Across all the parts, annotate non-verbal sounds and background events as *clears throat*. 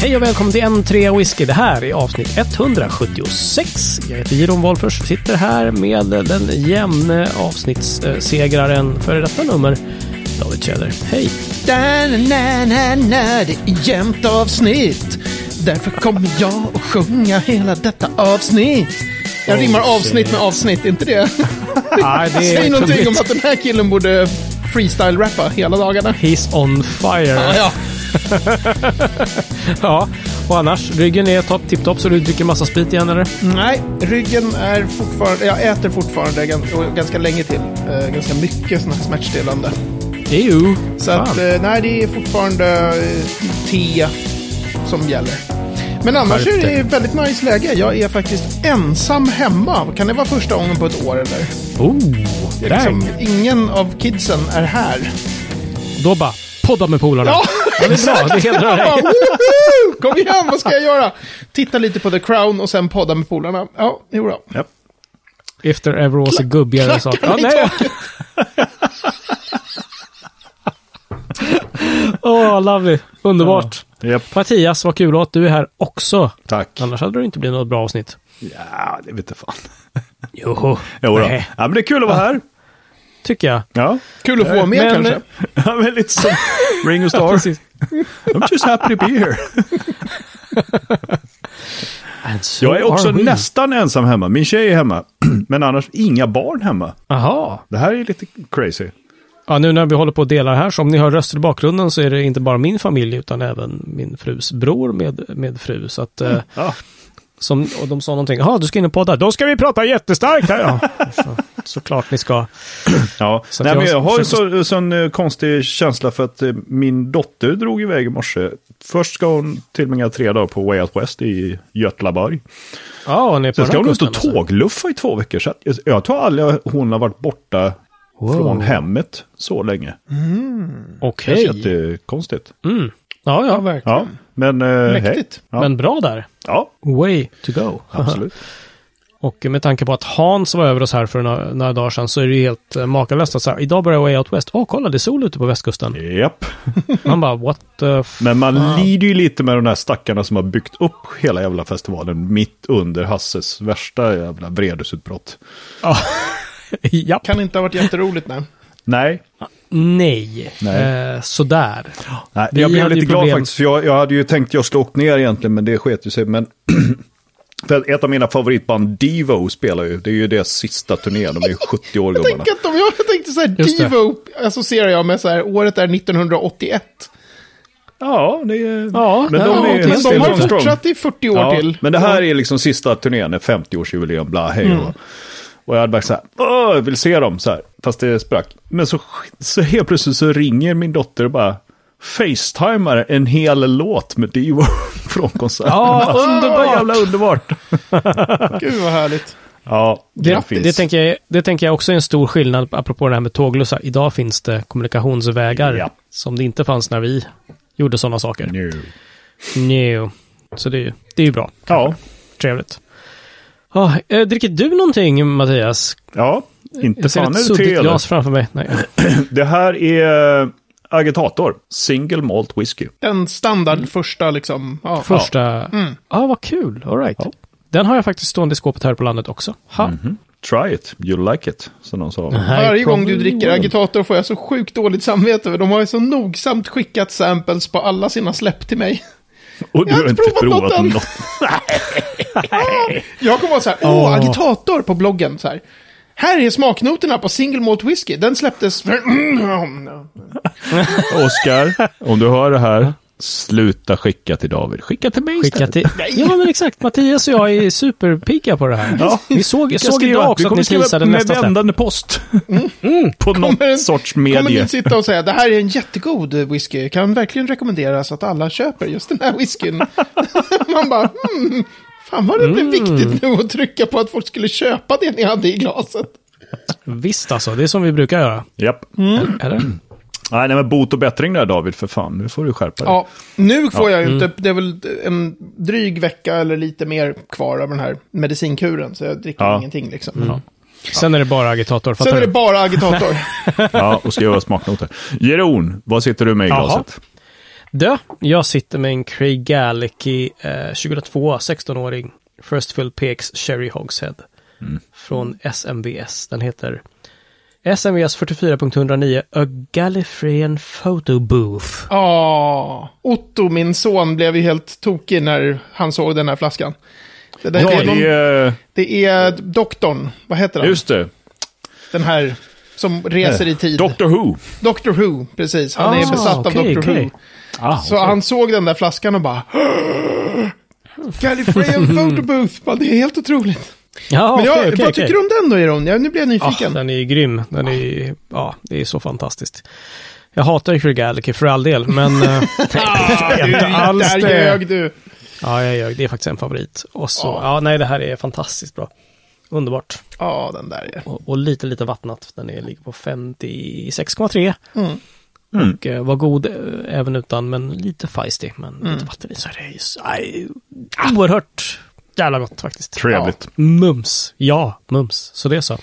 Hej och välkommen till N3 Whisky. Det här är avsnitt 176. Jag heter Jiron Wolffers och sitter här med den jämne avsnittssegraren för detta nummer, David Tjäder. Hej! Da, na, na, na, det är jämnt avsnitt. Därför kommer jag att sjunga hela detta avsnitt. Jag Oh, rimmar avsnitt shit. med avsnitt, inte det? *laughs* Nej, det är Säg någonting trubbigt. om att den här killen borde freestyle-rappa hela dagarna. He's on fire. Ja, ja. *laughs* Ja, och annars, ryggen är topp tipptopp så du dricker massa sprit igen eller? Nej, ryggen är fortfarande... Jag äter fortfarande gan- och ganska länge till. eh, ganska mycket sådana här smärtstillande. Jo, Så att, eh, nej, det är fortfarande eh, te som gäller. Men annars Skärp är dig. det väldigt nice läge. Jag är faktiskt ensam hemma. Kan det vara första gången på ett år eller? Oh, eh, Det är dang. liksom, ingen av kidsen är här. *laughs* Då bara, podda med polarna. Ja, det är bra. Det hedrar Ja, dig. woho! Kom igen, vad ska jag göra? Titta lite på The Crown och sen podda med polarna. Ja, jodå. If there ever was a gubbigare sak. klackarna i taket. *laughs* Åh, lovely. Underbart. Japp, Mattias, vad kul att du är här också. tack. Annars hade det inte blivit något bra avsnitt. Ja, det vete fan. Joho. Jo då. Nej, Ja, men det är kul att vara här. tycker jag. Ja, Kul att få vara med Men- kanske. ja men lite *laughs* som Ringo Ja, Starr. precis. I'm just happy to be here. Jag är också nästan ensam hemma. Min tjej är hemma. *clears throat* Men annars inga barn hemma. Jaha. Det här är lite crazy. Ja, nu när vi håller på och delar här, så om ni hör röster i bakgrunden så är det inte bara min familj utan även min frus bror med, med fru. Så att, eh, Ja, som, och de sa någonting, ja du ska in och podda, då ska vi prata jättestarkt här. Ja, så, såklart ni ska. ja. Så att Nej, jag men jag har en försöker- så, sån eh, konstig känsla för att eh, min dotter drog iväg i morse. Först ska hon tillbringa tre dagar på Way Out West i Götlaborg. Ja, och ni är på Sen ska den hon ut och kusten, alltså. tågluffa i två veckor. Så att jag- jag tror aldrig hon har varit borta Wow. från hemmet så länge. Det Okej. är jättekonstigt. Mm. Ja, ja. verkligen. Ja, men eh, hej. Mäktigt. Ja. Men bra där. Ja, Way to go. *laughs* absolut. och med tanke på att Hans var över oss här för några, några dagar sedan så är det ju helt eh, makalöst att så här, idag börjar Way Out West. Åh, kolla det är sol ute på västkusten. Japp. Man bara, what the *laughs* f... *laughs* Men man lider ju lite med de där stackarna som har byggt upp hela jävla festivalen mitt under Hasses värsta jävla vredesutbrott. Japp. Kan inte ha varit jätteroligt nej. Nej, Nej. Nej. Eh, sådär. Nej, Vi jag blev hade ju lite glad problem. faktiskt, för jag, jag hade ju tänkt jag skulle åkt ner egentligen, men det sket ju sig. Men *clears throat* för att ett av mina favoritband, Devo, spelar ju. Det är ju deras sista turné, de är ju 70 år Tänk gubbarna. att de, jag tänkte så här, Just det. Divo associerar jag med så här, året är 1981. Ja, det är... Ja, men det de var är någonting. ju Men de still har going strong. fortsatt i 40 år Ja, till. men det här är liksom sista turnén, är 50-årsjubileum, bla, hej Mm. och Och jag hade bara så här, Åh, jag vill se dem så här, fast det sprack. Men så, så helt plötsligt så ringer min dotter och bara facetimar en hel låt med Devo *laughs* från konserten. *laughs* Ja, underbart. Så jävla underbart! Gud vad härligt. Ja, det Det, finns. det, tänker jag, det tänker jag också är en stor skillnad, apropå det här med tåglussar. Idag finns det kommunikationsvägar Ja. som det inte fanns när vi gjorde sådana saker. nu. No. Så det är ju, det är ju bra. Ja, Trevligt. Ja, eh, dricker du någonting, Mattias? ja, inte Jag ser fan ett är det te suddigt eller? glas framför mig. Nej. Det här är eh, agitator, single malt whisky. Den standard första liksom. Ja. Första... Ja, Mm. ah, vad kul. All right. Ja. Den har jag faktiskt stående i skåpet här på landet också. Ha. Try it, you like it, som de sa. Varje gång du probably dricker won't. agitator får jag så sjukt dåligt samvete. för De har ju så nogsamt skickat samples på alla sina släpp till mig. Och du har har inte inte provat provat något än. något. *laughs* Jag kommer vara så här, åh, agitator på bloggen. Så här. här är smaknoterna på single malt whisky. Den släpptes för... *clears throat* Oskar, om du hör det här, sluta skicka till David. Skicka till mig Skicka till... Ja, men exakt. Mattias och jag är superpigga på det här. Ja. Vi såg, jag Jag såg idag också att ni teasade nästa med släpp. Mm. vändande post. Mm. På någon Kommer en- sorts Kommer medie. ni sitta och säga, det här är en jättegod whisky. Kan verkligen rekommenderas att alla köper just den här whiskyn. *laughs* Man bara, hmm. Fan vad det blev viktigt nu att trycka på att folk skulle köpa det ni hade i glaset. Visst alltså, det är som vi brukar göra. Japp. Mm. Eller? Nej, nej, men bot och bättring där David, för fan. Nu får du skärpa dig. Ja, nu får jag ju inte, det är väl en dryg vecka eller lite mer kvar av den här medicinkuren, så jag dricker Ja. ingenting liksom. Sen är det bara agitator. Sen Fattar är det du? bara agitator. Ja, och ska göra smaknoter. Jeroen, vad sitter du med i Jaha. glaset? Du, jag sitter med en Craig Galecki eh, 2002, 16-åring. First Fill PX Cherry Hogshead. Mm. Från SMVS. Den heter SMVS 44.109 A Gallifreyan Photo Booth. Ja, Otto, min son, blev ju helt tokig när han såg den här flaskan. Det, där, Ja, det, är, det någon, är... eh, det är doktorn, vad heter han? Just det. Den här som reser i tid. Doctor Who. Doctor Who, precis. Han är Ah, besatt av okej, Doctor okej. Who. Ah, Så han såg den där flaskan och bara... *gasps* Gallifreyan Photo Booth, Bara, det är helt otroligt. Ja, Men jag, okej, okej, vad tycker okej. du om den då, Iron? Ja, nu blir jag Ah, nyfiken. den är ju grym. Den är ju, ja, det är så fantastiskt. Jag hatar ju Craig Galecki för all del, men... eh, *laughs* nej, Du, inte alls där det. ljög du. Ja, jag ljög. Det är faktiskt en favorit. Och så, Ja. ja, nej, det här är fantastiskt bra. Underbart. Ja, den där är... Och, och lite, lite vattnat. Den är, ligger på 56,3. Mm. Och eh, var god eh, även utan, men lite feisty. Men lite vatten i så är Mm. det ju så- aj, ah. oerhört jävla gott faktiskt. Trevligt. Mums. Ja, mums. Så det är så.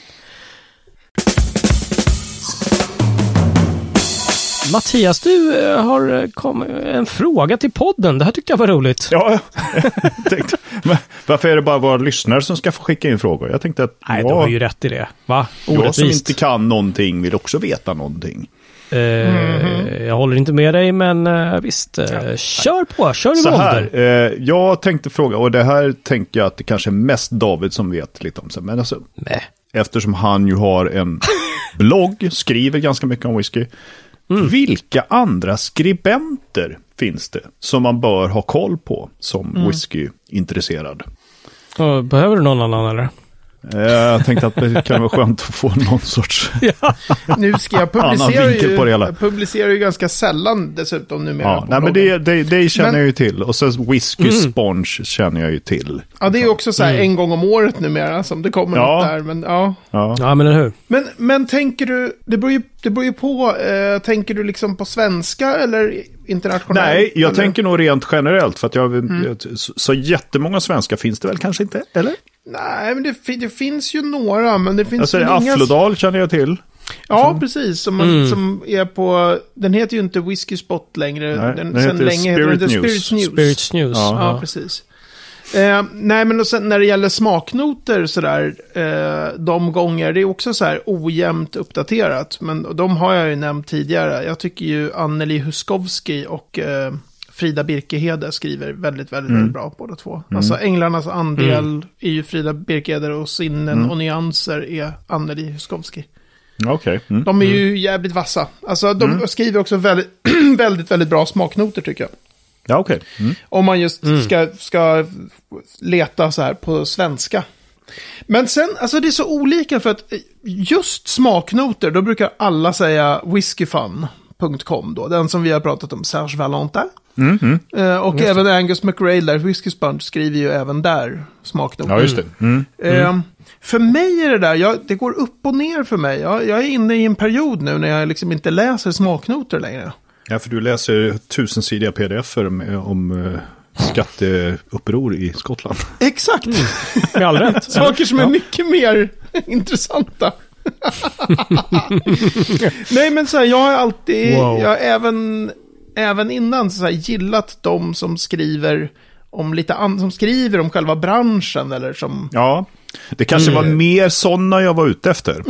Mattias, du eh, har eh, kom, en fråga till podden. Det här tyckte jag var roligt. Ja, *laughs* jag tänkte, men varför är det bara våra lyssnare som ska få skicka in frågor? Jag tänkte att Nej, du har jag, ju rätt i det. Va? jag som Orättvist. inte kan någonting vill också veta någonting. Mhm. Eh, Jag håller inte med dig, men eh, visst. eh, Kör på, kör i Så volter. här, eh, jag tänkte fråga, och det här tänker jag att det kanske är mest David som vet lite om. sig, Men alltså, Nej. eftersom han ju har en blogg, skriver ganska mycket om whisky. Mm. Vilka andra skribenter finns det som man bör ha koll på som Mm. whiskyintresserad? Ja, Behöver du någon annan eller? Eh, Jag tänkte att det kan vara skönt att få *laughs* någon sorts... Nu ska jag publicera *laughs* Annan vinkel ju, på det hela. jag publicerar ju ganska sällan dessutom numera. Ja, på nej, men bloggen. det, det, det känner Men- Mm. jag ju till. Och sen whisky sponge känner jag ju till. ja, det är ju också så här en gång om året numera som det kommer Mm. Ja. något där. Men, ja. Ja. Ja, men eller hur? men, men tänker du, det beror ju, det beror ju på, eh, tänker du liksom på svenska eller internationellt? Nej, jag eller? Mm. tänker nog rent generellt. För att jag, jag- så, så jättemånga svenskar finns det väl kanske inte? Eller? Nej, men det, fi- det finns ju några, men det finns Alltså, väl inga... Afflodal känner jag till. Ja, precis. Som, Mm. som är på... Den heter ju inte Whiskey Spot längre. Nej, den, den sen heter länge heter den The Spirit News. Spirit News. Spirits News. Ja, Ja. precis. Eh, nej, men och sen när det gäller smaknoter sådär, eh, de gånger, det är också så här ojämnt uppdaterat. Men och de har jag ju nämnt tidigare. Jag tycker ju Anneli Huskovski och eh, Frida Birkehede skriver väldigt, väldigt, Mm. väldigt bra båda två. Alltså Änglarnas andel är ju Frida Birkehede och Sinnen Mm. och Nyanser är Anneli Huskovski. Okej. Mm. De är ju jävligt vassa. Alltså de skriver också väldigt, *clears throat* väldigt, väldigt bra smaknoter tycker jag. Ja, okej. Mm. Om man just ska, ska leta så här på svenska. Men sen, alltså det är så olika för att just smaknoter, då brukar alla säga whiskyfun.com då. Den som vi har pratat om, Serge Valentin. Mm, Eh, och även Angus McRae där, Whiskey Sponge, skriver ju även där smaknoter. Ja, just det. Mm. Ehm, för mig är det där, jag, det går upp och ner för mig. Jag, jag är inne i en period nu när jag liksom inte läser smaknoter längre. Ja, för du läser tusensidiga pdf om, om eh, skatteuppror i Skottland. Exakt! Med all rätt. *laughs* Saker som är mycket mer *laughs* intressanta. *laughs* Nej men så här, jag har alltid, Wow. jag har även, även innan så här, gillat de som skriver om lite an- som skriver om själva branschen eller som... Ja, det kanske var mer sådana jag var ute efter.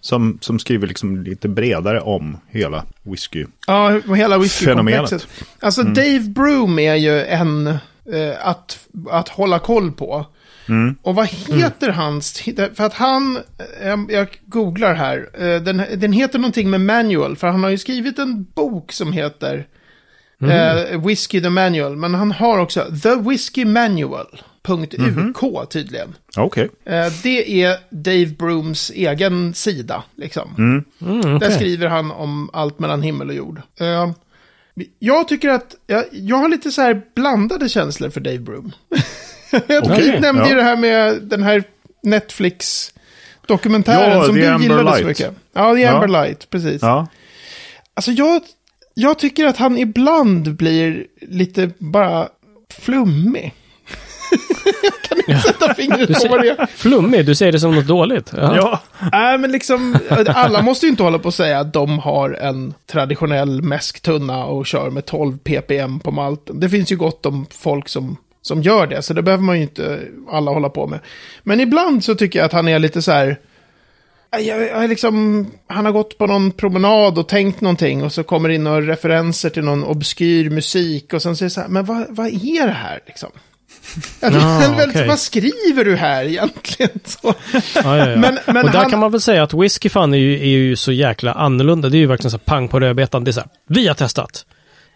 Som, som skriver liksom lite bredare om hela whisky. Ja, hela whiskykomplexet. Fenomenet. Alltså Dave Broom är ju en eh, att, att hålla koll på. Och vad heter hans... För att han... eh, Jag googlar här. Eh, Den, den heter någonting med manual. För han har ju skrivit en bok som heter eh, Whiskey the Manual. Men han har också The Whiskey Manual.uk tydligen. Ja, Okej. Eh, Det är Dave Brooms egen sida, liksom. Mm. Där skriver han om allt mellan himmel och jord. Eh, Jag tycker att, jag, jag har lite så här blandade känslor för Dave Broom. *laughs* jag Okej, nämnde ju ja. det här med den här Netflix-dokumentären Ja, som The du Amber gillade så Light. mycket. Ja, The Ja. Amber Light, precis. Ja. Alltså jag, jag tycker att han ibland blir lite bara flummig. *laughs* Sätta fingret på vad det är. Flummig, du säger det som något dåligt. Jaha. Ja, Nej, men liksom, alla måste ju inte hålla på och säga att de har en traditionell mäsktunna och kör med 12 ppm på malten. Det finns ju gott om folk som, som gör det, så det behöver man ju inte alla hålla på med. Men ibland så tycker jag att han är lite så här... Jag, jag är liksom, han har gått på någon promenad och tänkt någonting och så kommer det in några referenser till någon obskyr musik och sen så är det så här, men vad, vad är det här liksom? Ja, det är väldigt, okej. Vad skriver du här egentligen? *laughs* Så. Ja, ja, ja. Men- men och där han- kan man väl säga att whisky fan är ju, är ju så jäkla annorlunda. Det är ju verkligen så här pang på rödbetan. Det är så här, vi har testat.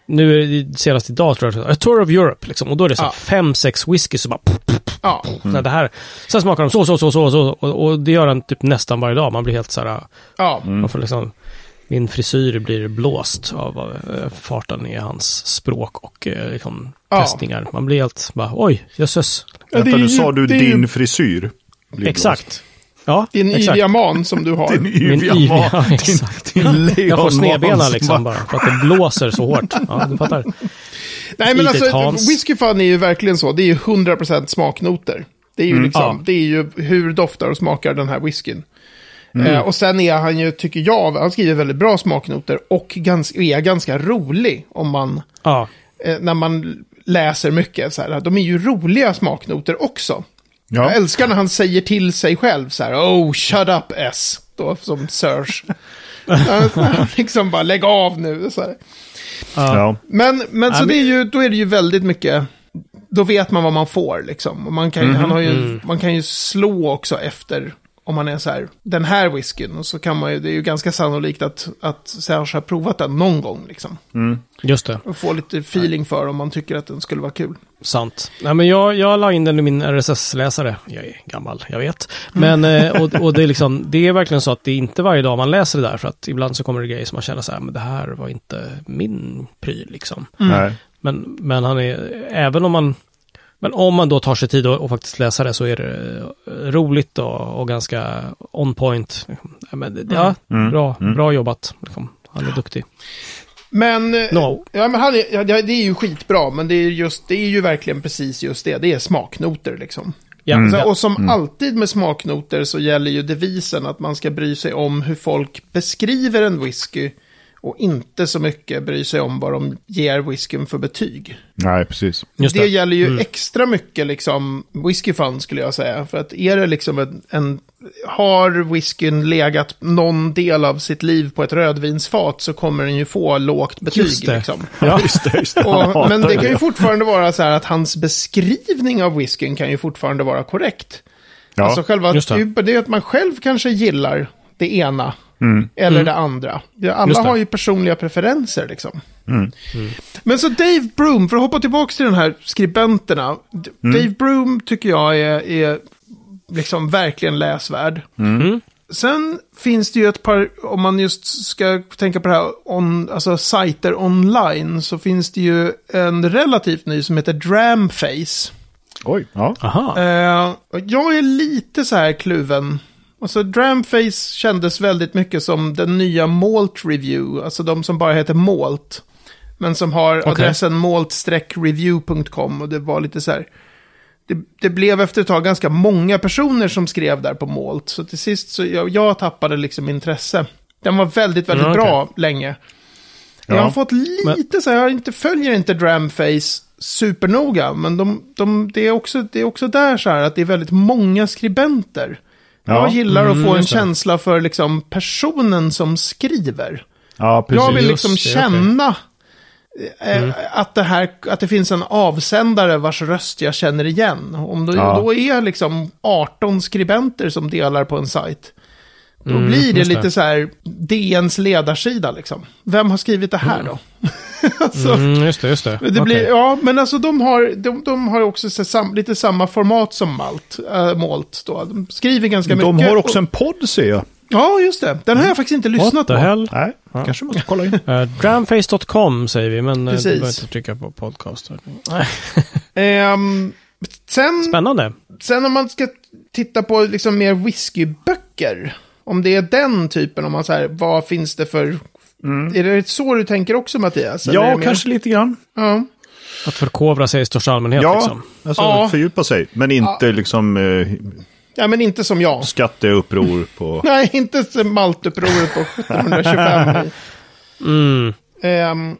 Nu är det senast idag tror jag, A Tour of Europe liksom. Och då är det så här Ja. Mm. fem, sex whisky som bara... Pff, Ja. så här, det här. Sen smakar de så, så, så, så, så. Och, och det gör han typ nästan varje dag. Man blir helt så här... Ja, Mm. Man får liksom, min frisyr blir blåst av eh, farten i hans språk och eh, liksom, Ja. testningar. Man blir helt bara, oj, jösses. Ja, det är Vänta, nu ju- sa du det är ju- din frisyr. blir blåst. Exakt. Ja, Din exakt. yviga man *laughs* som du har. Din yviga yviga, man. Din, exakt. din *laughs* Jag får lejonman snedbena som liksom bara, för att det blåser så hårt. Ja, du fattar. Nej, men Litet alltså, Hans. whisky fan är ju verkligen så. Det är ju 100% smaknoter. Det är ju, liksom, Mm, Ja. det är ju hur doftar och smakar den här whiskyn. Mm. Eh, och sen är han ju, tycker jag, han skriver väldigt bra smaknoter och ganska, är ganska rolig om man, Ja, eh, när man läser mycket. Så här, de är ju roliga smaknoter också. Ja. Jag älskar när han säger till sig själv så här, oh, shut up S. Då som Serge. *laughs* Han liksom bara, lägg av nu. Så här. Ja. Men, men så men- det är ju, då är det ju väldigt mycket, då vet man vad man får liksom. Och man, kan, Mhm, han har ju, mm. man kan ju slå också efter, om man är så här, den här whiskyn. Och så kan man ju, det är ju ganska sannolikt att, att Serge har provat den någon gång liksom. just det. Och få lite feeling för om man tycker att den skulle vara kul. Sant. Nej, men jag, jag la in den i min RSS-läsare. Jag är gammal, jag vet. Men, eh, och, och det, är liksom, det är verkligen så att det är inte varje dag man läser det där. För att ibland så kommer det grejer som man känner så här, men det här var inte min pryl liksom. Nej. Men, men han är, även om man, men om man då tar sig tid och, och faktiskt läsa det så är det eh, roligt och, och ganska on point. Liksom. Ja, Men, det- ja, bra, bra jobbat. Liksom. Han är duktig. Men, eh, No. ja, men han är, ja, det är ju skitbra, men det är, just, det är ju verkligen precis just det. Det är smaknoter liksom. Ja, Så, ja. och som alltid med smaknoter så gäller ju devisen att man ska bry sig om hur folk beskriver en whisky och inte så mycket bry sig om vad de ger whiskyn för betyg. Nej, precis. Just det. det. gäller ju extra mycket liksom whisky fun skulle jag säga. För att är det liksom en, en har whiskyn legat någon del av sitt liv på ett rödvinsfat så kommer den ju få lågt betyg. Just det. *laughs* Liksom. *laughs* Ja. Just det, just det. Han Och, hatar men det kan ju fortfarande vara så här att hans beskrivning av whiskyn kan ju fortfarande vara korrekt. Ja. Alltså själva just det. typen, det är ju att man själv kanske gillar det ena eller det andra. Ja, Alla Mm. Just det. Mm. har ju personliga preferenser liksom. Men så Dave Broom, för att hoppa tillbaka till den här skribenterna. D- Mm. Dave Broom tycker jag är, är liksom verkligen läsvärd. Mm. Sen finns det ju ett par, om man just ska tänka på det här, on, alltså sajter online, så finns det ju en relativt ny som heter Dramface. Oj, ja. Aha. Eh, och jag är lite så här kluven. Alltså Dramface kändes väldigt mycket som den nya Malt Review, alltså de som bara heter Malt. Men som har adressen malt-review.com och det var lite så här. Det, det blev efter ett tag ganska många personer som skrev där på Malt. Så till sist så jag, jag tappade liksom intresse. Den var väldigt, väldigt Ja, okej. bra länge. Ja. Jag har fått lite så här, jag har inte, följer inte Dramface supernoga, men de, de, det, är också, det är också där så här att det är väldigt många skribenter. Jag Ja. gillar att få en Mm, just det. känsla för liksom personen som skriver. Ja, precis. Jag Just vill liksom det, okej. Mm. känna eh, att, det här, att det finns en avsändare vars röst jag känner igen. Om det, Ja. då är liksom 18 skribenter som delar på en sajt. Då blir det Mm, just det. lite så här DNs ledarsida liksom. Vem har skrivit det här då? *laughs* alltså, Mm, just det, just det. det blir, Okej. ja, men alltså de har, de, de har också så, sam, lite samma format som Malt. Äh, Malt då. De skriver ganska De mycket. har också och, en podd ser jag. Ja, just det. Den har jag faktiskt inte lyssnat Mm. What the på. hell? Nej, kanske måste *laughs* kolla in. Eh, Dramface.com säger vi, men eh, du Precis. behöver inte trycka på podcast. Nej. Ehm, sen, Spännande. sen om man ska titta på liksom mer whiskyböcker. Om det är den typen, om man så här, vad Mm. finns det för... Är det så du tänker också Mattias? Eller är det Ja, mer- kanske lite grann. Ja. Att förkovra sig i största allmänhet Ja, liksom. alltså Ja. fördjupa sig. Men inte liksom eh, Ja, men inte som jag. skatteuppror *laughs* på... Nej, inte som Maltupproret på 1725. Mm. Ehm,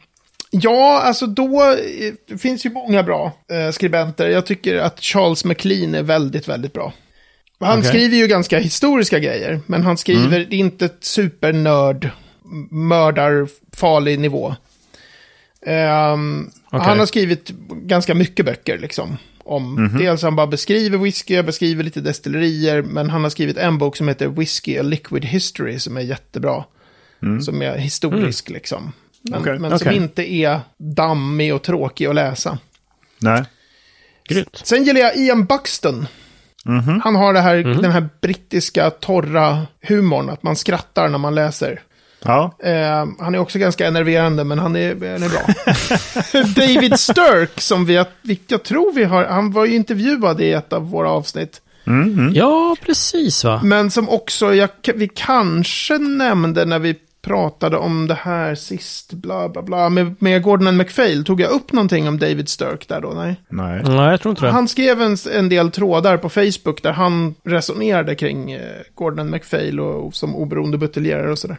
ja, alltså då eh, det finns ju många bra eh, skribenter. Jag tycker att Charles Maclean är väldigt, väldigt bra. Han Okej. Mm. skriver ju ganska historiska grejer, men han skriver det är inte ett supernörd, m- mördarfarlig nivå. Ehm, Okej. Han har skrivit ganska mycket böcker, liksom. Om, Mhm. Dels han bara beskriver whisky, jag beskriver lite destillerier, men han har skrivit en bok som heter Whiskey, A Liquid History, som är jättebra. Som är historisk, liksom. Men, Okej. men som Okej. inte är dammig och tråkig att läsa. Nej. Grymt. Sen gillar jag Ian Buxton. Han har det här, den här brittiska torra humorn, att man skrattar när man läser. Ja. Eh, han är också ganska enerverande, men han är, han är bra. David Sturk, som vi, vi, jag tror vi har, han var ju intervjuad i ett av våra avsnitt. Mm. Ja, precis va? Men som också, jag, vi kanske nämnde när vi pratade om det här sist, bla bla bla, med, med Gordon and MacPhail, tog jag upp någonting om David Sturk där då? Nej. Nej. Mm. Nej, jag tror inte det. Han skrev en, en del trådar på Facebook där han resonerade kring eh, Gordon MacPhail och, och som oberoende buteljerare och sådär.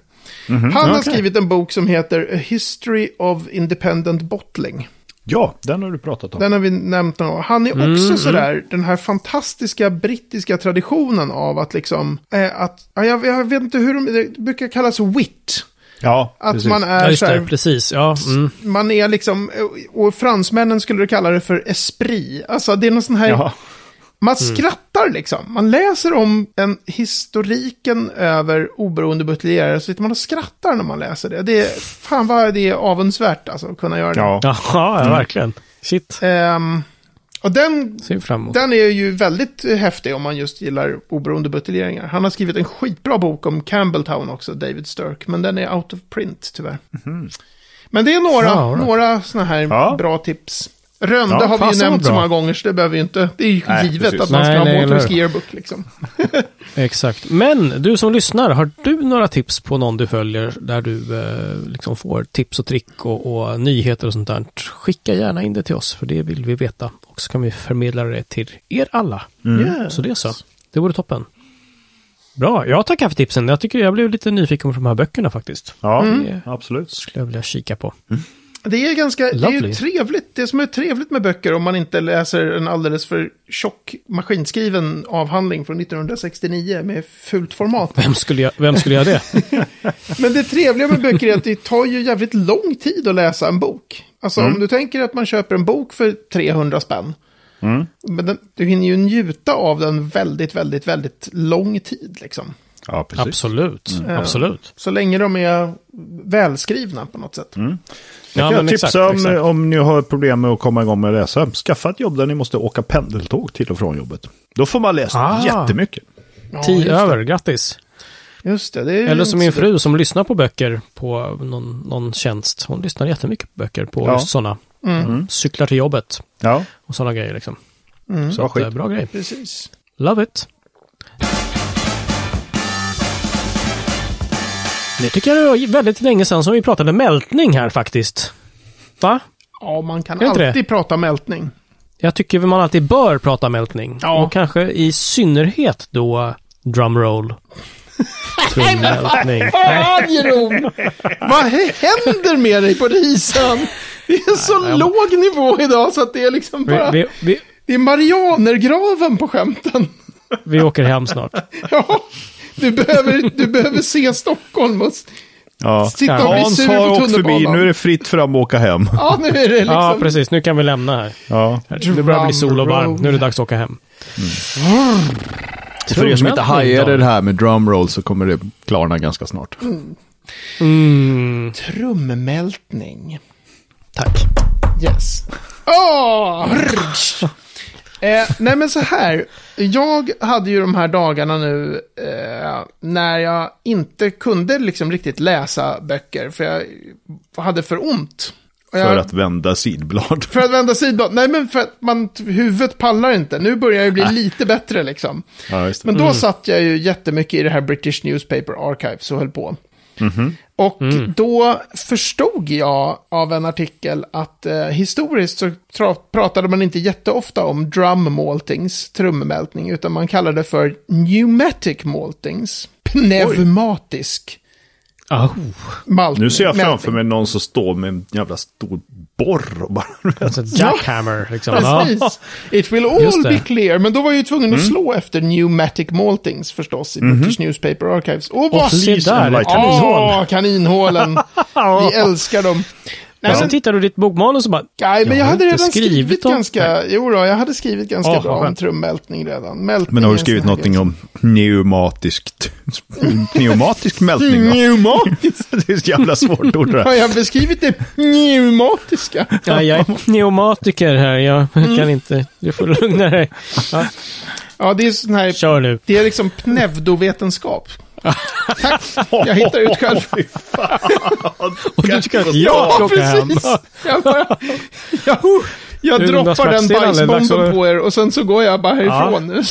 han har skrivit en bok som heter A History of Independent Bottling. Ja, den har du pratat om. Den har vi nämnt någon gång. Han är Mm, också sådär, den här fantastiska brittiska traditionen av att liksom, eh, att, ja, jag, jag vet inte hur de, det brukar kallas wit. Ja, Att precis. man Ja, är just det. såhär, Precis. Ja, mm. man är liksom, och fransmännen skulle kalla det för esprit. Alltså det är någon sån här Ja. man Mm. skrattar liksom. Man läser om en historiken över oberoende buteljerare så sitter man och skrattar när man läser det. det är, fan vad det är avundsvärt alltså, att kunna göra det. Ja. Jaha, ja, verkligen. Mm. Shit. Ehm, och den, Ser vi fram emot. den är ju väldigt eh, häftig om man just gillar oberoende buteljeringar. Han har skrivit en skitbra bok om Campbelltown också, David Sturk, men den är out of print tyvärr. Mhm. Men det är några, Ja, all right. några sådana här Ja. bra tips. Rönde Ja, har vi fan, ju så nämnt så bra. många gånger så det behöver ju inte, det är ju Nej, givet precis. att man ska Nej, ha nej, eller Water hur? Ski Yearbook liksom. Exakt. Men du som lyssnar, har du några tips på någon du följer där du eh, liksom får tips och trick och, och nyheter och sånt där? Skicka gärna in det till oss, för det vill vi veta. Och så kan vi förmedla det till er alla. Mm. Så det så. Det vore toppen. Bra, jag tackar för tipsen. Jag tycker jag blev lite nyfiken på de här böckerna faktiskt. Ja, Mm. absolut. Skulle jag vilja kika på. Det är ganska det är ju Lovely. trevligt. Det som är trevligt med böcker om man inte läser en alldeles för tjock maskinskriven avhandling från 1969 med fult format. Vem skulle, jag, vem skulle *laughs* göra det? Men det trevliga med böcker är att det tar ju jävligt lång tid att läsa en bok. Alltså om du tänker att man köper en bok för 300 spänn. Men den, du hinner ju njuta av den väldigt, väldigt, väldigt lång tid liksom. Ja, precis. Absolut. Absolut. Så länge de är välskrivna på något sätt. Ja, jag men tipsar exakt. om, exakt. om ni har problem med att komma igång med att läsa. Skaffa ett jobb där ni måste åka pendeltåg till och från jobbet. Då får man läsa Ah. jättemycket. Ja, Tio just, Mm. över, grattis. just det. det är ju Eller som min inte så dumt. fru som lyssnar på böcker på någon, någon tjänst. Hon lyssnar jättemycket på böcker på Ja. just sådana. Mm. Cyklar till jobbet Ja, och sådana grejer liksom. så bra Så det är skit. bra grej. Precis. Love it. Det tycker jag det var väldigt länge sedan som vi pratade mältning här faktiskt. Va? Ja, man kan Är inte det? alltid *laughs* prata mältning. Jag tycker man alltid bör prata mältning. Ja. Och kanske i synnerhet då drumroll. Trummältning. Arjerom! Vad händer med dig på risen? Det är så låg nivå idag så att det är liksom Vi, bara... vi, vi, Det är Marianergraven på skämten. *laughs* vi åker hem snart. Liksom. Ja, du behöver, du behöver se Stockholm och s- Ja. sitta och bli Hans sur har på åkt förbi, nu är tunnelbanan. det fritt fram att åka hem. Ja, nu är det liksom... Ja, precis. Nu kan vi lämna här. Ja. Nu börjar det bli sol och varmt. Nu är det dags att åka hem. Och för er som inte Trumhändning, hajade Dan. det här med drumroll så kommer det klarna ganska snart. Mm, Trummältning. tack. Yes. Åh! rrrsch. eh, nej men så här, jag hade ju de här dagarna nu eh, när jag inte kunde liksom riktigt läsa böcker för jag hade för ont. Och jag, För att vända *laughs* sidblad. för att vända sidblad, nej men för att man, huvudet pallar inte. Nu börjar jag ju bli lite bättre liksom. Ja, just det. Men då satt jag ju jättemycket i det här British Newspaper Archives och höll på. Mm-hmm. Och Mm. då förstod jag av en artikel att eh, historiskt så tra- pratade man inte jätteofta om drum maltings, trummältning, utan man kallade det för pneumatic maltings, pneumatisk Oh, maltning. Nu ser jag framför mig någon som står med en jävla stor borr och bara... alltså jackhammer liksom. Ja. Precis. It will Just all det. Mm. be clear. Men då var jag ju tvungen att slå efter pneumatic maltings förstås i British Newspaper Archives. Och vad... Mhm. Och se där, ett kaninhål. Ja, *laughs* kaninhålen. Vi älskar dem. Nej, Men sen men, tittar du i ditt bokmanus och bara... nej, men jag har hade inte redan skrivit, om- ganska... Jo då, jag hade skrivit ganska Ja, bra om skönt. trummältning redan. *laughs* Mältning Men har är du en skrivit sån här någonting grej. om pneumatiskt, *laughs* pneumatisk mältning? *laughs* Pneumatiskt? *laughs* det är ett jävla svårt ord det Har *laughs* där. jag beskrivit det pneumatiska? Ja, jag är pneumatiker här. Jag Mm. kan inte... Du får lugna dig. Ja, Ja, det är sån här... kör nu. Det är liksom pneudovetenskap. Tack, jag hittar ut själv. Och du tycker att jag ska åka hem. *laughs* Jag, bara, jag, jag Du, Jonas droppar den Maxell, alldeles dags bajsbomben att- på er och sen så går jag bara härifrån.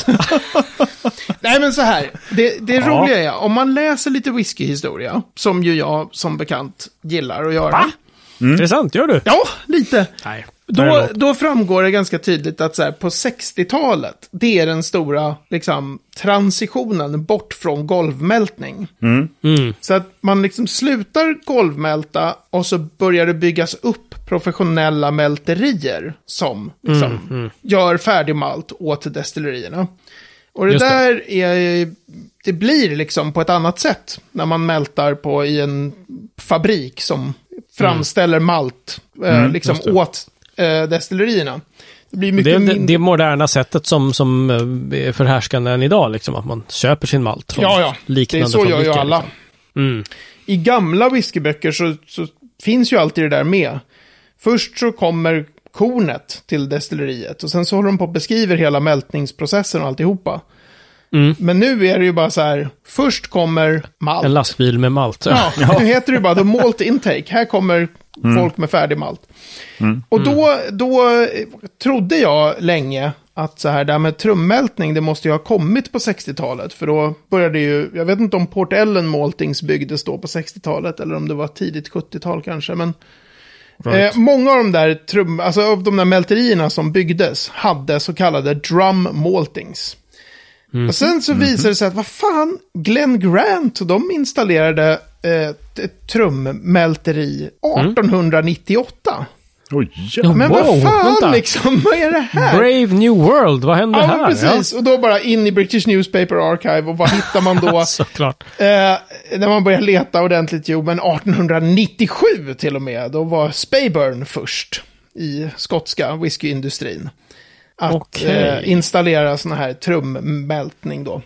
*laughs* Nej men så här, det, det roliga är, om man läser lite whiskyhistoria, som ju jag som bekant gillar att göra. Intressant, gör du? Ja, lite. Nej. Då, då framgår det ganska tydligt att så här, på 60-talet, det är den stora liksom, transitionen bort från golvmältning. Mm. Så att man liksom slutar golvmälta och så börjar det byggas upp professionella mälterier som liksom, Mm, gör färdig malt åt destillerierna. Och det Just det. där Är, det blir liksom på ett annat sätt när man mältar på i en fabrik som framställer malt eh, liksom åt eh, destillerierna. Det blir Mm, Det mycket är det, mindre- det moderna sättet som, som eh, är förhärskande än idag, liksom, att man köper sin malt från Ja, ja. Det liknande är så gör ju fabriker, alla. Liksom. Mm. I gamla whiskyböcker så, så finns ju alltid det där med. Först så kommer kornet till destilleriet och sen så håller de på och beskriver hela mältningsprocessen och alltihopa. Men nu är det ju bara så här, först kommer malt. En lastbil med malt. Ja, *laughs* nu heter det bara the malt intake. Här kommer folk med färdig malt. Och då, då eh, trodde jag länge att så här, det här med trummältning, det måste ju ha kommit på 60-talet. För då började ju, jag vet inte om Port Ellen Maltings byggdes då på 60-talet eller om det var tidigt 70-tal kanske. Men eh, många av de där trum, alltså av de där mälterierna som byggdes hade så kallade drum maltings. Och sen så visade det sig att vad fan, Glenn Grant, de installerade eh, ett- ett trummälteri 1898. Oj, Ja, jävlar. Men wow, vad fan vänta. liksom, vad är det här? Brave New World, vad hände ja, här? men precis. Och då bara in i British Newspaper Archive och vad hittar man *laughs* då? Ja, såklart. Eh, när man börjar leta ordentligt, jo men 1897 till och med, då var Speyburn först i skotska whiskyindustrin. Att Okej. eh, installera sån här trummältning då.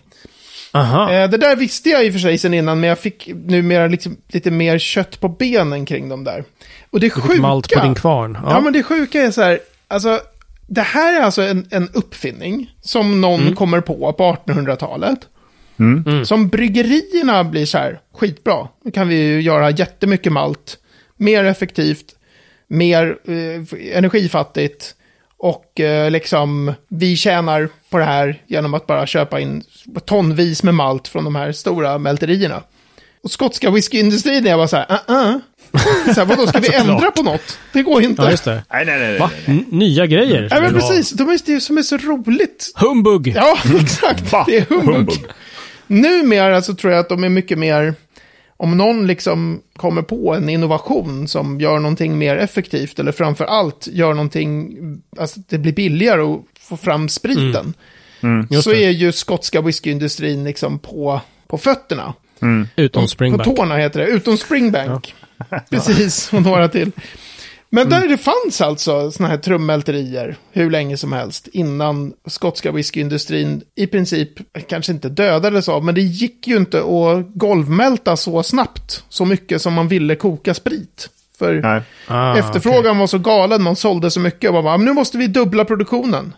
Aha. Eh, det där visste jag i och för sig sen innan, men jag fick numera liksom lite mer kött på benen kring dem där. Och det sjuka... Malt på din kvarn. Ja, men det sjuka är så här, alltså, det här är alltså en, en uppfinning som någon kommer på på 1800-talet. Som bryggerierna blir så här, skitbra. Nu kan vi ju göra jättemycket malt, mer effektivt, mer eh, energifattigt och eh, liksom vi tjänar på det här genom att bara köpa in tonvis med malt från de här stora mälterierna. Och skotska whiskyindustrin är jag bara så här, uh-uh. Så här, *laughs* vadå, ska vi ändra på något? Det går inte. ja, just det. Nej, nej, nej. Va? nej. N- Nya grejer. Nej, men skulle du ha. precis. De är det som är så roligt. Humbug! Ja, *laughs* exakt. Det är humbug. Humbug. Numera så tror jag att de är mycket mer... Om någon liksom kommer på en innovation som gör någonting mer effektivt eller framför allt gör någonting, alltså att det blir billigare att få fram spriten. Mm. just så det. är ju skotska whiskyindustrin liksom på, på fötterna. Utom På Springback. tårna heter det, utom Springbank. *laughs* Precis, och några till. Men där det fanns alltså sådana här trummälterier hur länge som helst innan skotska whiskyindustrin i princip kanske inte dödades av, men det gick ju inte att golvmälta så snabbt, så mycket som man ville koka sprit. För nej. Ah, efterfrågan var så galen, man sålde så mycket och man bara, "Ah, "Men nu måste vi dubbla produktionen.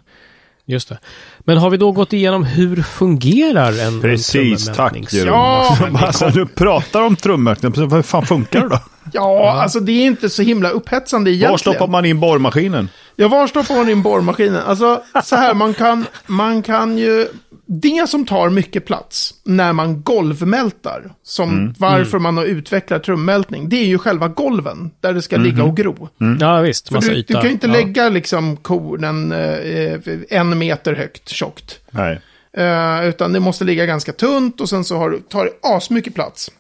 Just det. Men har vi då gått igenom hur fungerar en Precis, en tack. trummelmätning? Ja, *laughs* men det Alltså, du pratar om trummärkningen, hur fan funkar det då? Ja, alltså det är inte så himla upphetsande egentligen. Ah. Var stoppar man in borrmaskinen? Jag var stoppar man in borrmaskinen? Alltså, så här, man kan, man kan ju Det som tar mycket plats när man golvmältar, som Mm. varför man har utvecklat trummältning, det är ju själva golven där det ska ligga och gro. Mm. Ja, visst. För Mhm. Mm. Massa du, du yta. kan ju inte ja. lägga liksom kornen eh, en meter högt tjockt. Nej. Eh, utan det måste ligga ganska tunt och sen så har, du- tar det asmycket plats.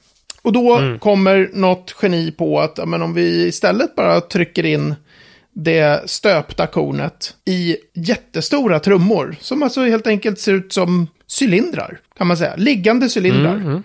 Och då kommer något geni på att ja, men om vi istället bara trycker in det stöpta kornet i jättestora trummor. Som alltså helt enkelt ser ut som cylindrar, kan man säga. Liggande cylindrar.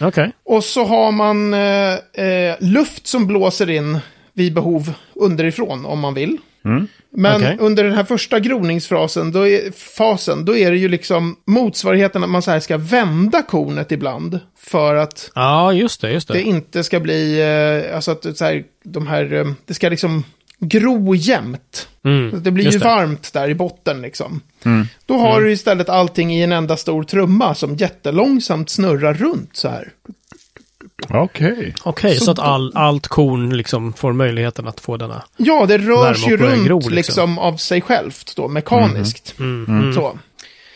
Okej. Och så har man eh, eh, luft som blåser in vid behov underifrån om man vill. Men Mm. Okej. under den här första groningsfasen, då är, fasen, då är det ju liksom motsvarigheten att man så här ska vända kornet ibland. För att Ja, just det. Just det. det inte ska bli, eh, alltså att så här, de här, eh, det ska liksom gro jämnt. Mm, Så Det blir just ju det. Mm. varmt där i botten liksom. Då har du istället allting i en enda stor trumma som jättelångsamt snurrar runt så här. Okej. Okej, så, att all, allt korn liksom får möjligheten att få denna... Ja, det rör Värme sig ju och runt gro, liksom. liksom. Mm-hmm. av sig självt då, mekaniskt. Mm-hmm. Så.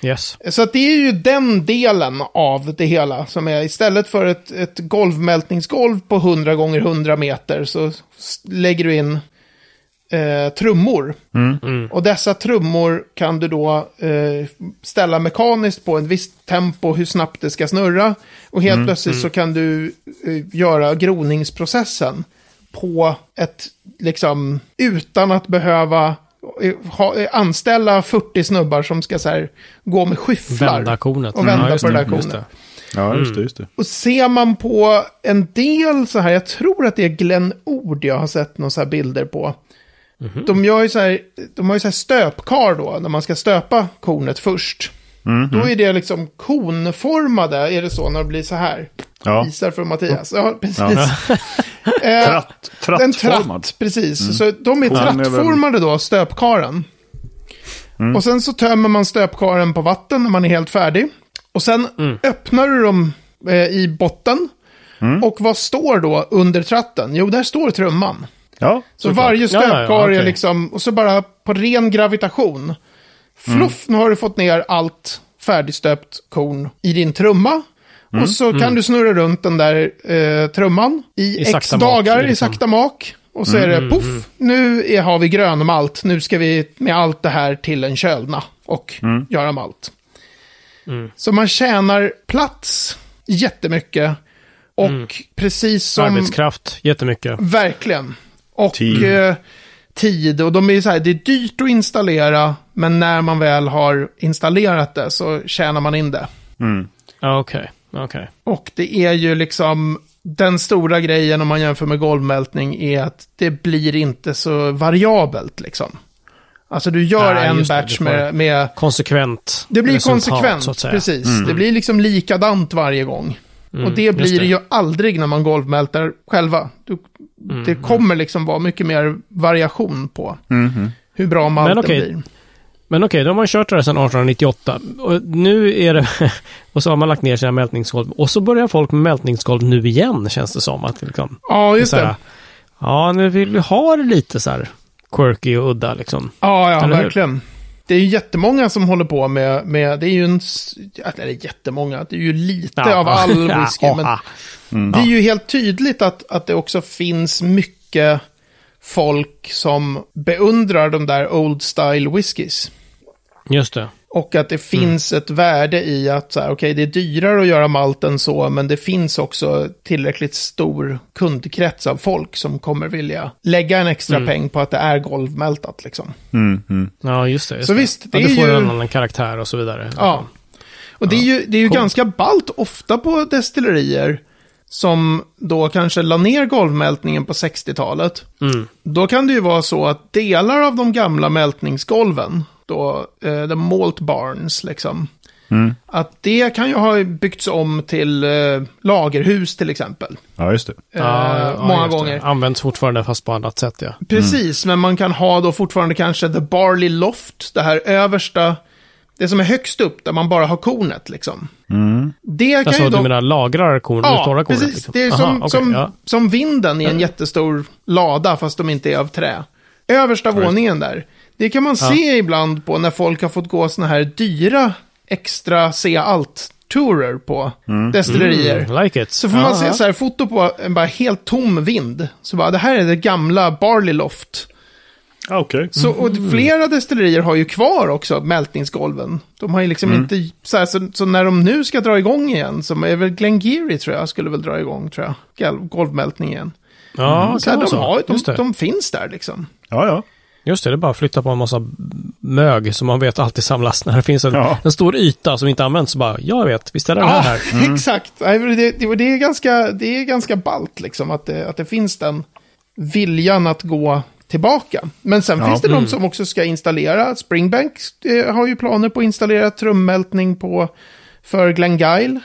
Yes. Så att det är ju den delen av det hela som är, istället för ett, ett golvmältningsgolv på 100 gånger 100 meter så s- lägger du in eh, trummor. Mm. Och dessa trummor kan du då eh, ställa mekaniskt på en viss tempo hur snabbt det ska snurra. Och helt plötsligt så kan du eh, göra groningsprocessen på ett, liksom, utan att behöva eh, ha, eh, anställa 40 snubbar som ska så här, gå med skyfflar. Vända kornet. Mm. Och vända ja, just på det där just kornet. det. Ja, just det. Just det. Och ser man på en del så här, jag tror att det är Glenn Ord jag har sett några så här bilder på. De, gör ju så här, de har ju så här stöpkar då, när man ska stöpa kornet först. Då är det liksom konformade, är det så när det blir så här? Ja. Visar för Mattias. Ja, precis. *laughs* Eh, Tratt, en trattformad. Mm. tratt, precis. Så de är den är väl- Mm. trattformade då, stöpkaren. Och sen så tömmer man stöpkaren på vatten när man är helt färdig. Och sen öppnar du dem eh, i botten. Mm. Och vad står då under tratten? Jo, där står trumman. Ja, Så varje Ja, ja, ja, stöpkar är okej. liksom, och så bara på ren gravitation. Fluff, Mm. nu har du fått ner allt färdigstöpt korn i din trumma. Mm, Och så kan du snurra runt den där eh, trumman i, I x sakta mak, dagar i liksom. Mm, sakta mak. Och så är det poff, nu är, har vi grönmalt, nu ska vi med allt det här till en kölna och Mm. göra malt. Så man tjänar plats jättemycket och precis som... Mm. Arbetskraft, jättemycket. Verkligen. Och Tid. Eh, tid. Och de är så här, det är dyrt att installera, men när man väl har installerat det så tjänar man in det. Mm. Ja, Okej, okej. Och det är ju liksom den stora grejen om man jämför med golvmältning är att det blir inte så variabelt liksom. Alltså du gör Nej, en just det, batch det får- med, med... Konsekvent Det blir resultat, konsekvent, så att säga. Mm. precis. Det blir liksom likadant varje gång. och det just blir det det. ju aldrig när man golvmältar själva. Du, Mm, det kommer liksom vara mycket mer variation på Mm-hmm. hur bra malten okej. blir. Men okej, då har man kört det här sedan 1898. Och nu är det... *laughs* Och så har man lagt ner sina mältningsgolv. Och så börjar folk med mältningsgolv nu igen, känns det som. Att liksom, Ja, just så här, det. Ja, nu vill vi ha det lite så här quirky och udda liksom. Ja, ja, Eller hur? verkligen. Det är ju jättemånga som håller på med, med det är ju en, s- ja, det är jättemånga, det är ju lite Ja, *laughs* av ja. all whisky. Ja, men ja. det är ju helt tydligt att, att det också finns mycket folk som beundrar de där old style whiskys. Just det. Och att det finns ett värde i att så här, okej, det är dyrare att göra malten så, men det finns också tillräckligt stor kundkrets av folk som kommer vilja lägga en extra peng på att det är golvmältat. Liksom. Mm-hmm. Ja, just det. Just Så det. visst, det ja, är du får ju- en annan karaktär och så vidare. Ja. Och det är ju, det är ju Coolt. ganska balt ofta på destillerier som då kanske la ner golvmältningen på 60-talet. Mm. Då kan det ju vara så att delar av de gamla mältningsgolven, då, eh, the malt barns liksom, Mm. att det kan ju ha byggts om till eh, lagerhus till exempel. Ja, just det. Ah, Ja, eh, ja, många just det. Mm. gånger. Används fortfarande fast på annat sätt, ja. Precis, men man kan ha då fortfarande kanske the barley loft, det här översta, det som är högst upp där man bara har kornet liksom. Mm. Det kan Alltså, ju du då... menar lagrar korn, ja, torra kornet? precis. liksom. Det är Aha, som, okej, som, ja. Mm, som vinden i en jättestor lada, fast de inte är av trä. Översta våningen där. Det kan man se ibland på när folk har fått gå såna här dyra extra se allt-tourer på destillerier. Like it. Så får man Mm. Ja, se ja. så här, foto på en bara helt tom vind. Så bara, det här är det gamla Barley Loft. Ah, Okej. Så, och Mm. flera destillerier har ju kvar också mältningsgolven. De har ju Mm. liksom inte, så, här, så, så när de nu ska dra igång igen, som är väl Glengeary tror jag, skulle väl dra igång tror jag, gal- golvmältning igen. Ja, kan Så här, vara de, så. har, Just de, det. de finns där liksom. Ja, ja. Just det, det är bara att flytta på en massa mög som man vet alltid samlas när det finns en, Ja. en stor yta som inte används. Så bara, jag vet, vi ställer den Ja, här. *laughs* exakt. Nej, men Det, det, det, är ganska, det är ganska ballt liksom, att det, att det finns den viljan att gå tillbaka. Men sen finns det de som också ska installera. Springbank eh, har ju planer på att installera trummältning på, för Glengyle.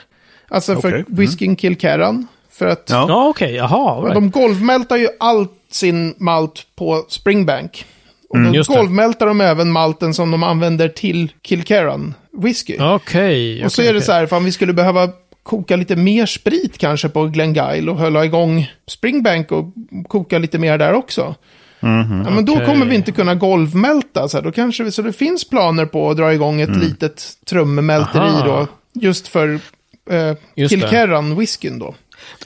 Alltså Okej. för whiskyn Kilkerran. För att Ja. Ja, okej, jaha. all Right. de golvmältar ju allt sin malt på Springbank. Och då just det. golvmältar de även malten som de använder till Kilkerran whisky. Okej. Och så är det så här, fan vi skulle behöva koka lite mer sprit kanske på Glengyle och hålla igång Springbank och koka lite mer där också. ja, men då okej. kommer vi inte kunna golvmälta. Så, här, då kanske vi, så det finns planer på att dra igång ett litet trummälteri Aha. då. Just för eh, Just det. Kilkerran-whiskyn då.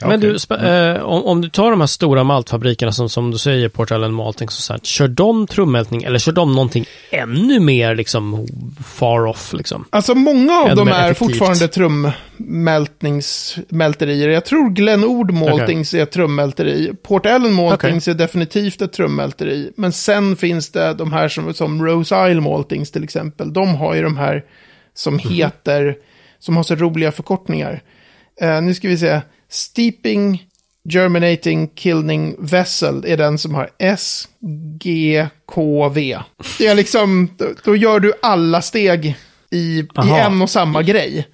Men du, sp- eh, om, om du tar de här stora maltfabrikerna som, som du säger, Port Allen Malting, så, så här, kör de trummältning eller kör de någonting ännu mer liksom far off liksom? Alltså många av Ännu dem mer är effektivt. fortfarande trummälterier. Jag tror Glen Ord Maltings är ett trummälteri. Port Ellen Maltings är definitivt ett trummälteri. Men sen finns det de här som, som Rose Isle Maltings till exempel. De har ju de här som heter, som har så roliga förkortningar. Eh, nu ska vi se. Steeping Germinating Kilning Vessel är den som har SGKV. Det är liksom, då, då gör du alla steg i, i Aha. en och samma grej.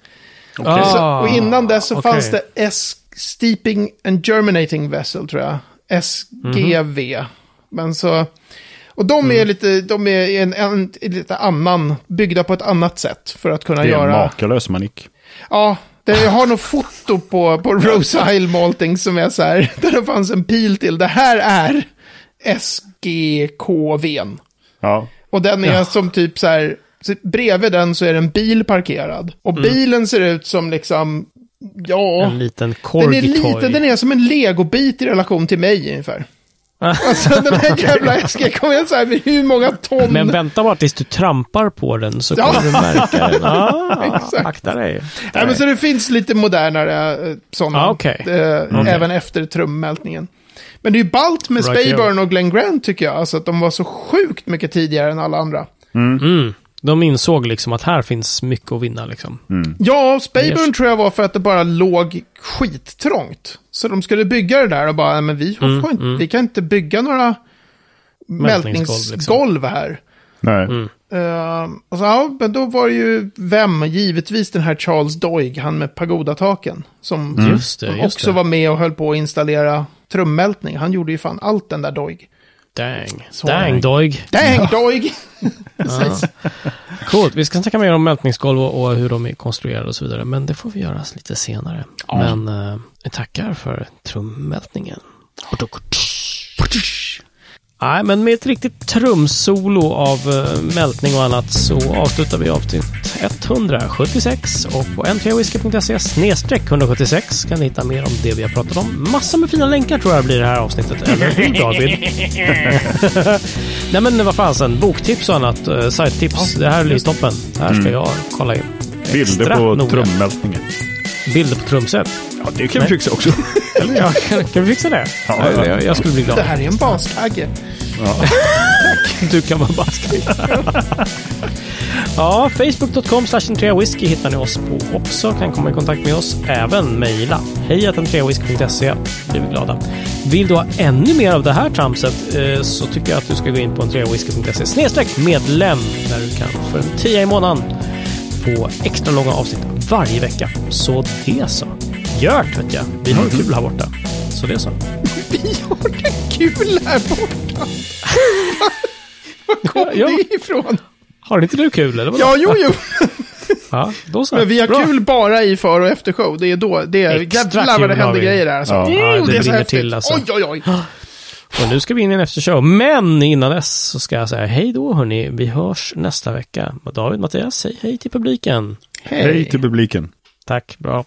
Så, Ah, och innan dess så okej. fanns det S Steeping and Germinating Vessel tror jag. SGV. Men så... Och de Mm. är lite, de är en, en, lite annan, byggda på ett annat sätt för att kunna Det är en göra... makalös manick. Ja, det, jag har nog foto på, på Rose Isle Malting som är så här, *laughs* där det fanns en pil till. Det här är SGKVn. Ja. Och den är som typ så här, så bredvid den så är det en bil parkerad. Och bilen ser ut som liksom, ja. Mm. En liten Den är corgi liten, den är som en legobit i relation till mig *laughs* ungefär. Ah. alltså den här jävla SG kommer jag så här med hur många ton. Men vänta bara tills du trampar på den så kommer du märka *laughs* den. Ah, Exakt. akta dig. Nej, men så det finns lite modernare eh, sådana. Ah, okej. eh, Även efter trummältningen. Men det är ju ballt med Right, Speyburn och Glenn Grant tycker jag. Alltså att de var så sjukt mycket tidigare än alla andra. Mm. De insåg liksom att här finns mycket att vinna liksom. Ja, Speyburn Yes. tror jag var för att det bara låg skittrångt. Så de skulle bygga det där och bara, "Nej, men vi, får inte, vi kan inte bygga några Mm, Mältningsgolv, liksom. mältningsgolv här. Nej. Eh, och så, ja, men då var det ju vem? Givetvis den här Charles Doig, han med pagodataken. Som Mm. Just det, som just också det. var med och höll på att installera trummältning. Han gjorde ju fan allt den där Doig. Dang. Så- Dang, Doig. Dang Doig! Precis. Coolt. Vi ska snacka mer om mältningsgolv och, och hur de är konstruerade och så vidare. Men det får vi göra lite senare. Men eh, vi tackar för trummältningen. Nej, men med ett riktigt trumsolo av eh, mältning och annat så avslutar vi avsnitt 176 och på n3whisky.se snedstreck 176 kan ni hitta mer om det vi har pratat om. Massor med fina länkar tror jag blir det här avsnittet. Eller hur David? Nej men vad fasen, boktips och annat, eh, sajttips. det här blir toppen. Det här ska jag kolla in. Bilder Extra på noga. trummältningen. Bilder på trumset. Ja, det kan vi fixa *laughs* också. Eller ja, kan, kan vi fixa det? Ja, ja. Jag, jag skulle bli glad. Det här är en baskagge. Du kan vara basket. *laughs* ja, facebook.com slash whisky hittar ni oss på också. Kan komma i kontakt med oss. Även mejla. Hej whisky.se blir vi glada. Vill du ha ännu mer av det här tramset eh, så tycker jag att du ska gå in på entreawhisky.se snedstreck medlem där du kan för en tia i månaden få extra långa avsnitt varje vecka. Så det så. Gört vet jag. Vi Mhm. har kul här borta. Så det så. Vi har det kul här borta. Var kom Ja. det ifrån? Har inte du kul eller? vadå? Ja, jo, jo. ja då så. Men vi har Bra. kul bara i för och efter show. Det är då, det är Extra jävlar vad det kul har händer vi. grejer där. Alltså. Ja, Oh, det är så brinner häftigt. till, alltså. Oj, oj, oj. Och nu ska vi in i en eftershow, men innan dess så ska jag säga hej då hörni. Vi hörs nästa vecka. David Mattias, säg hej till publiken. Hej. Hej till publiken. Tack, bra.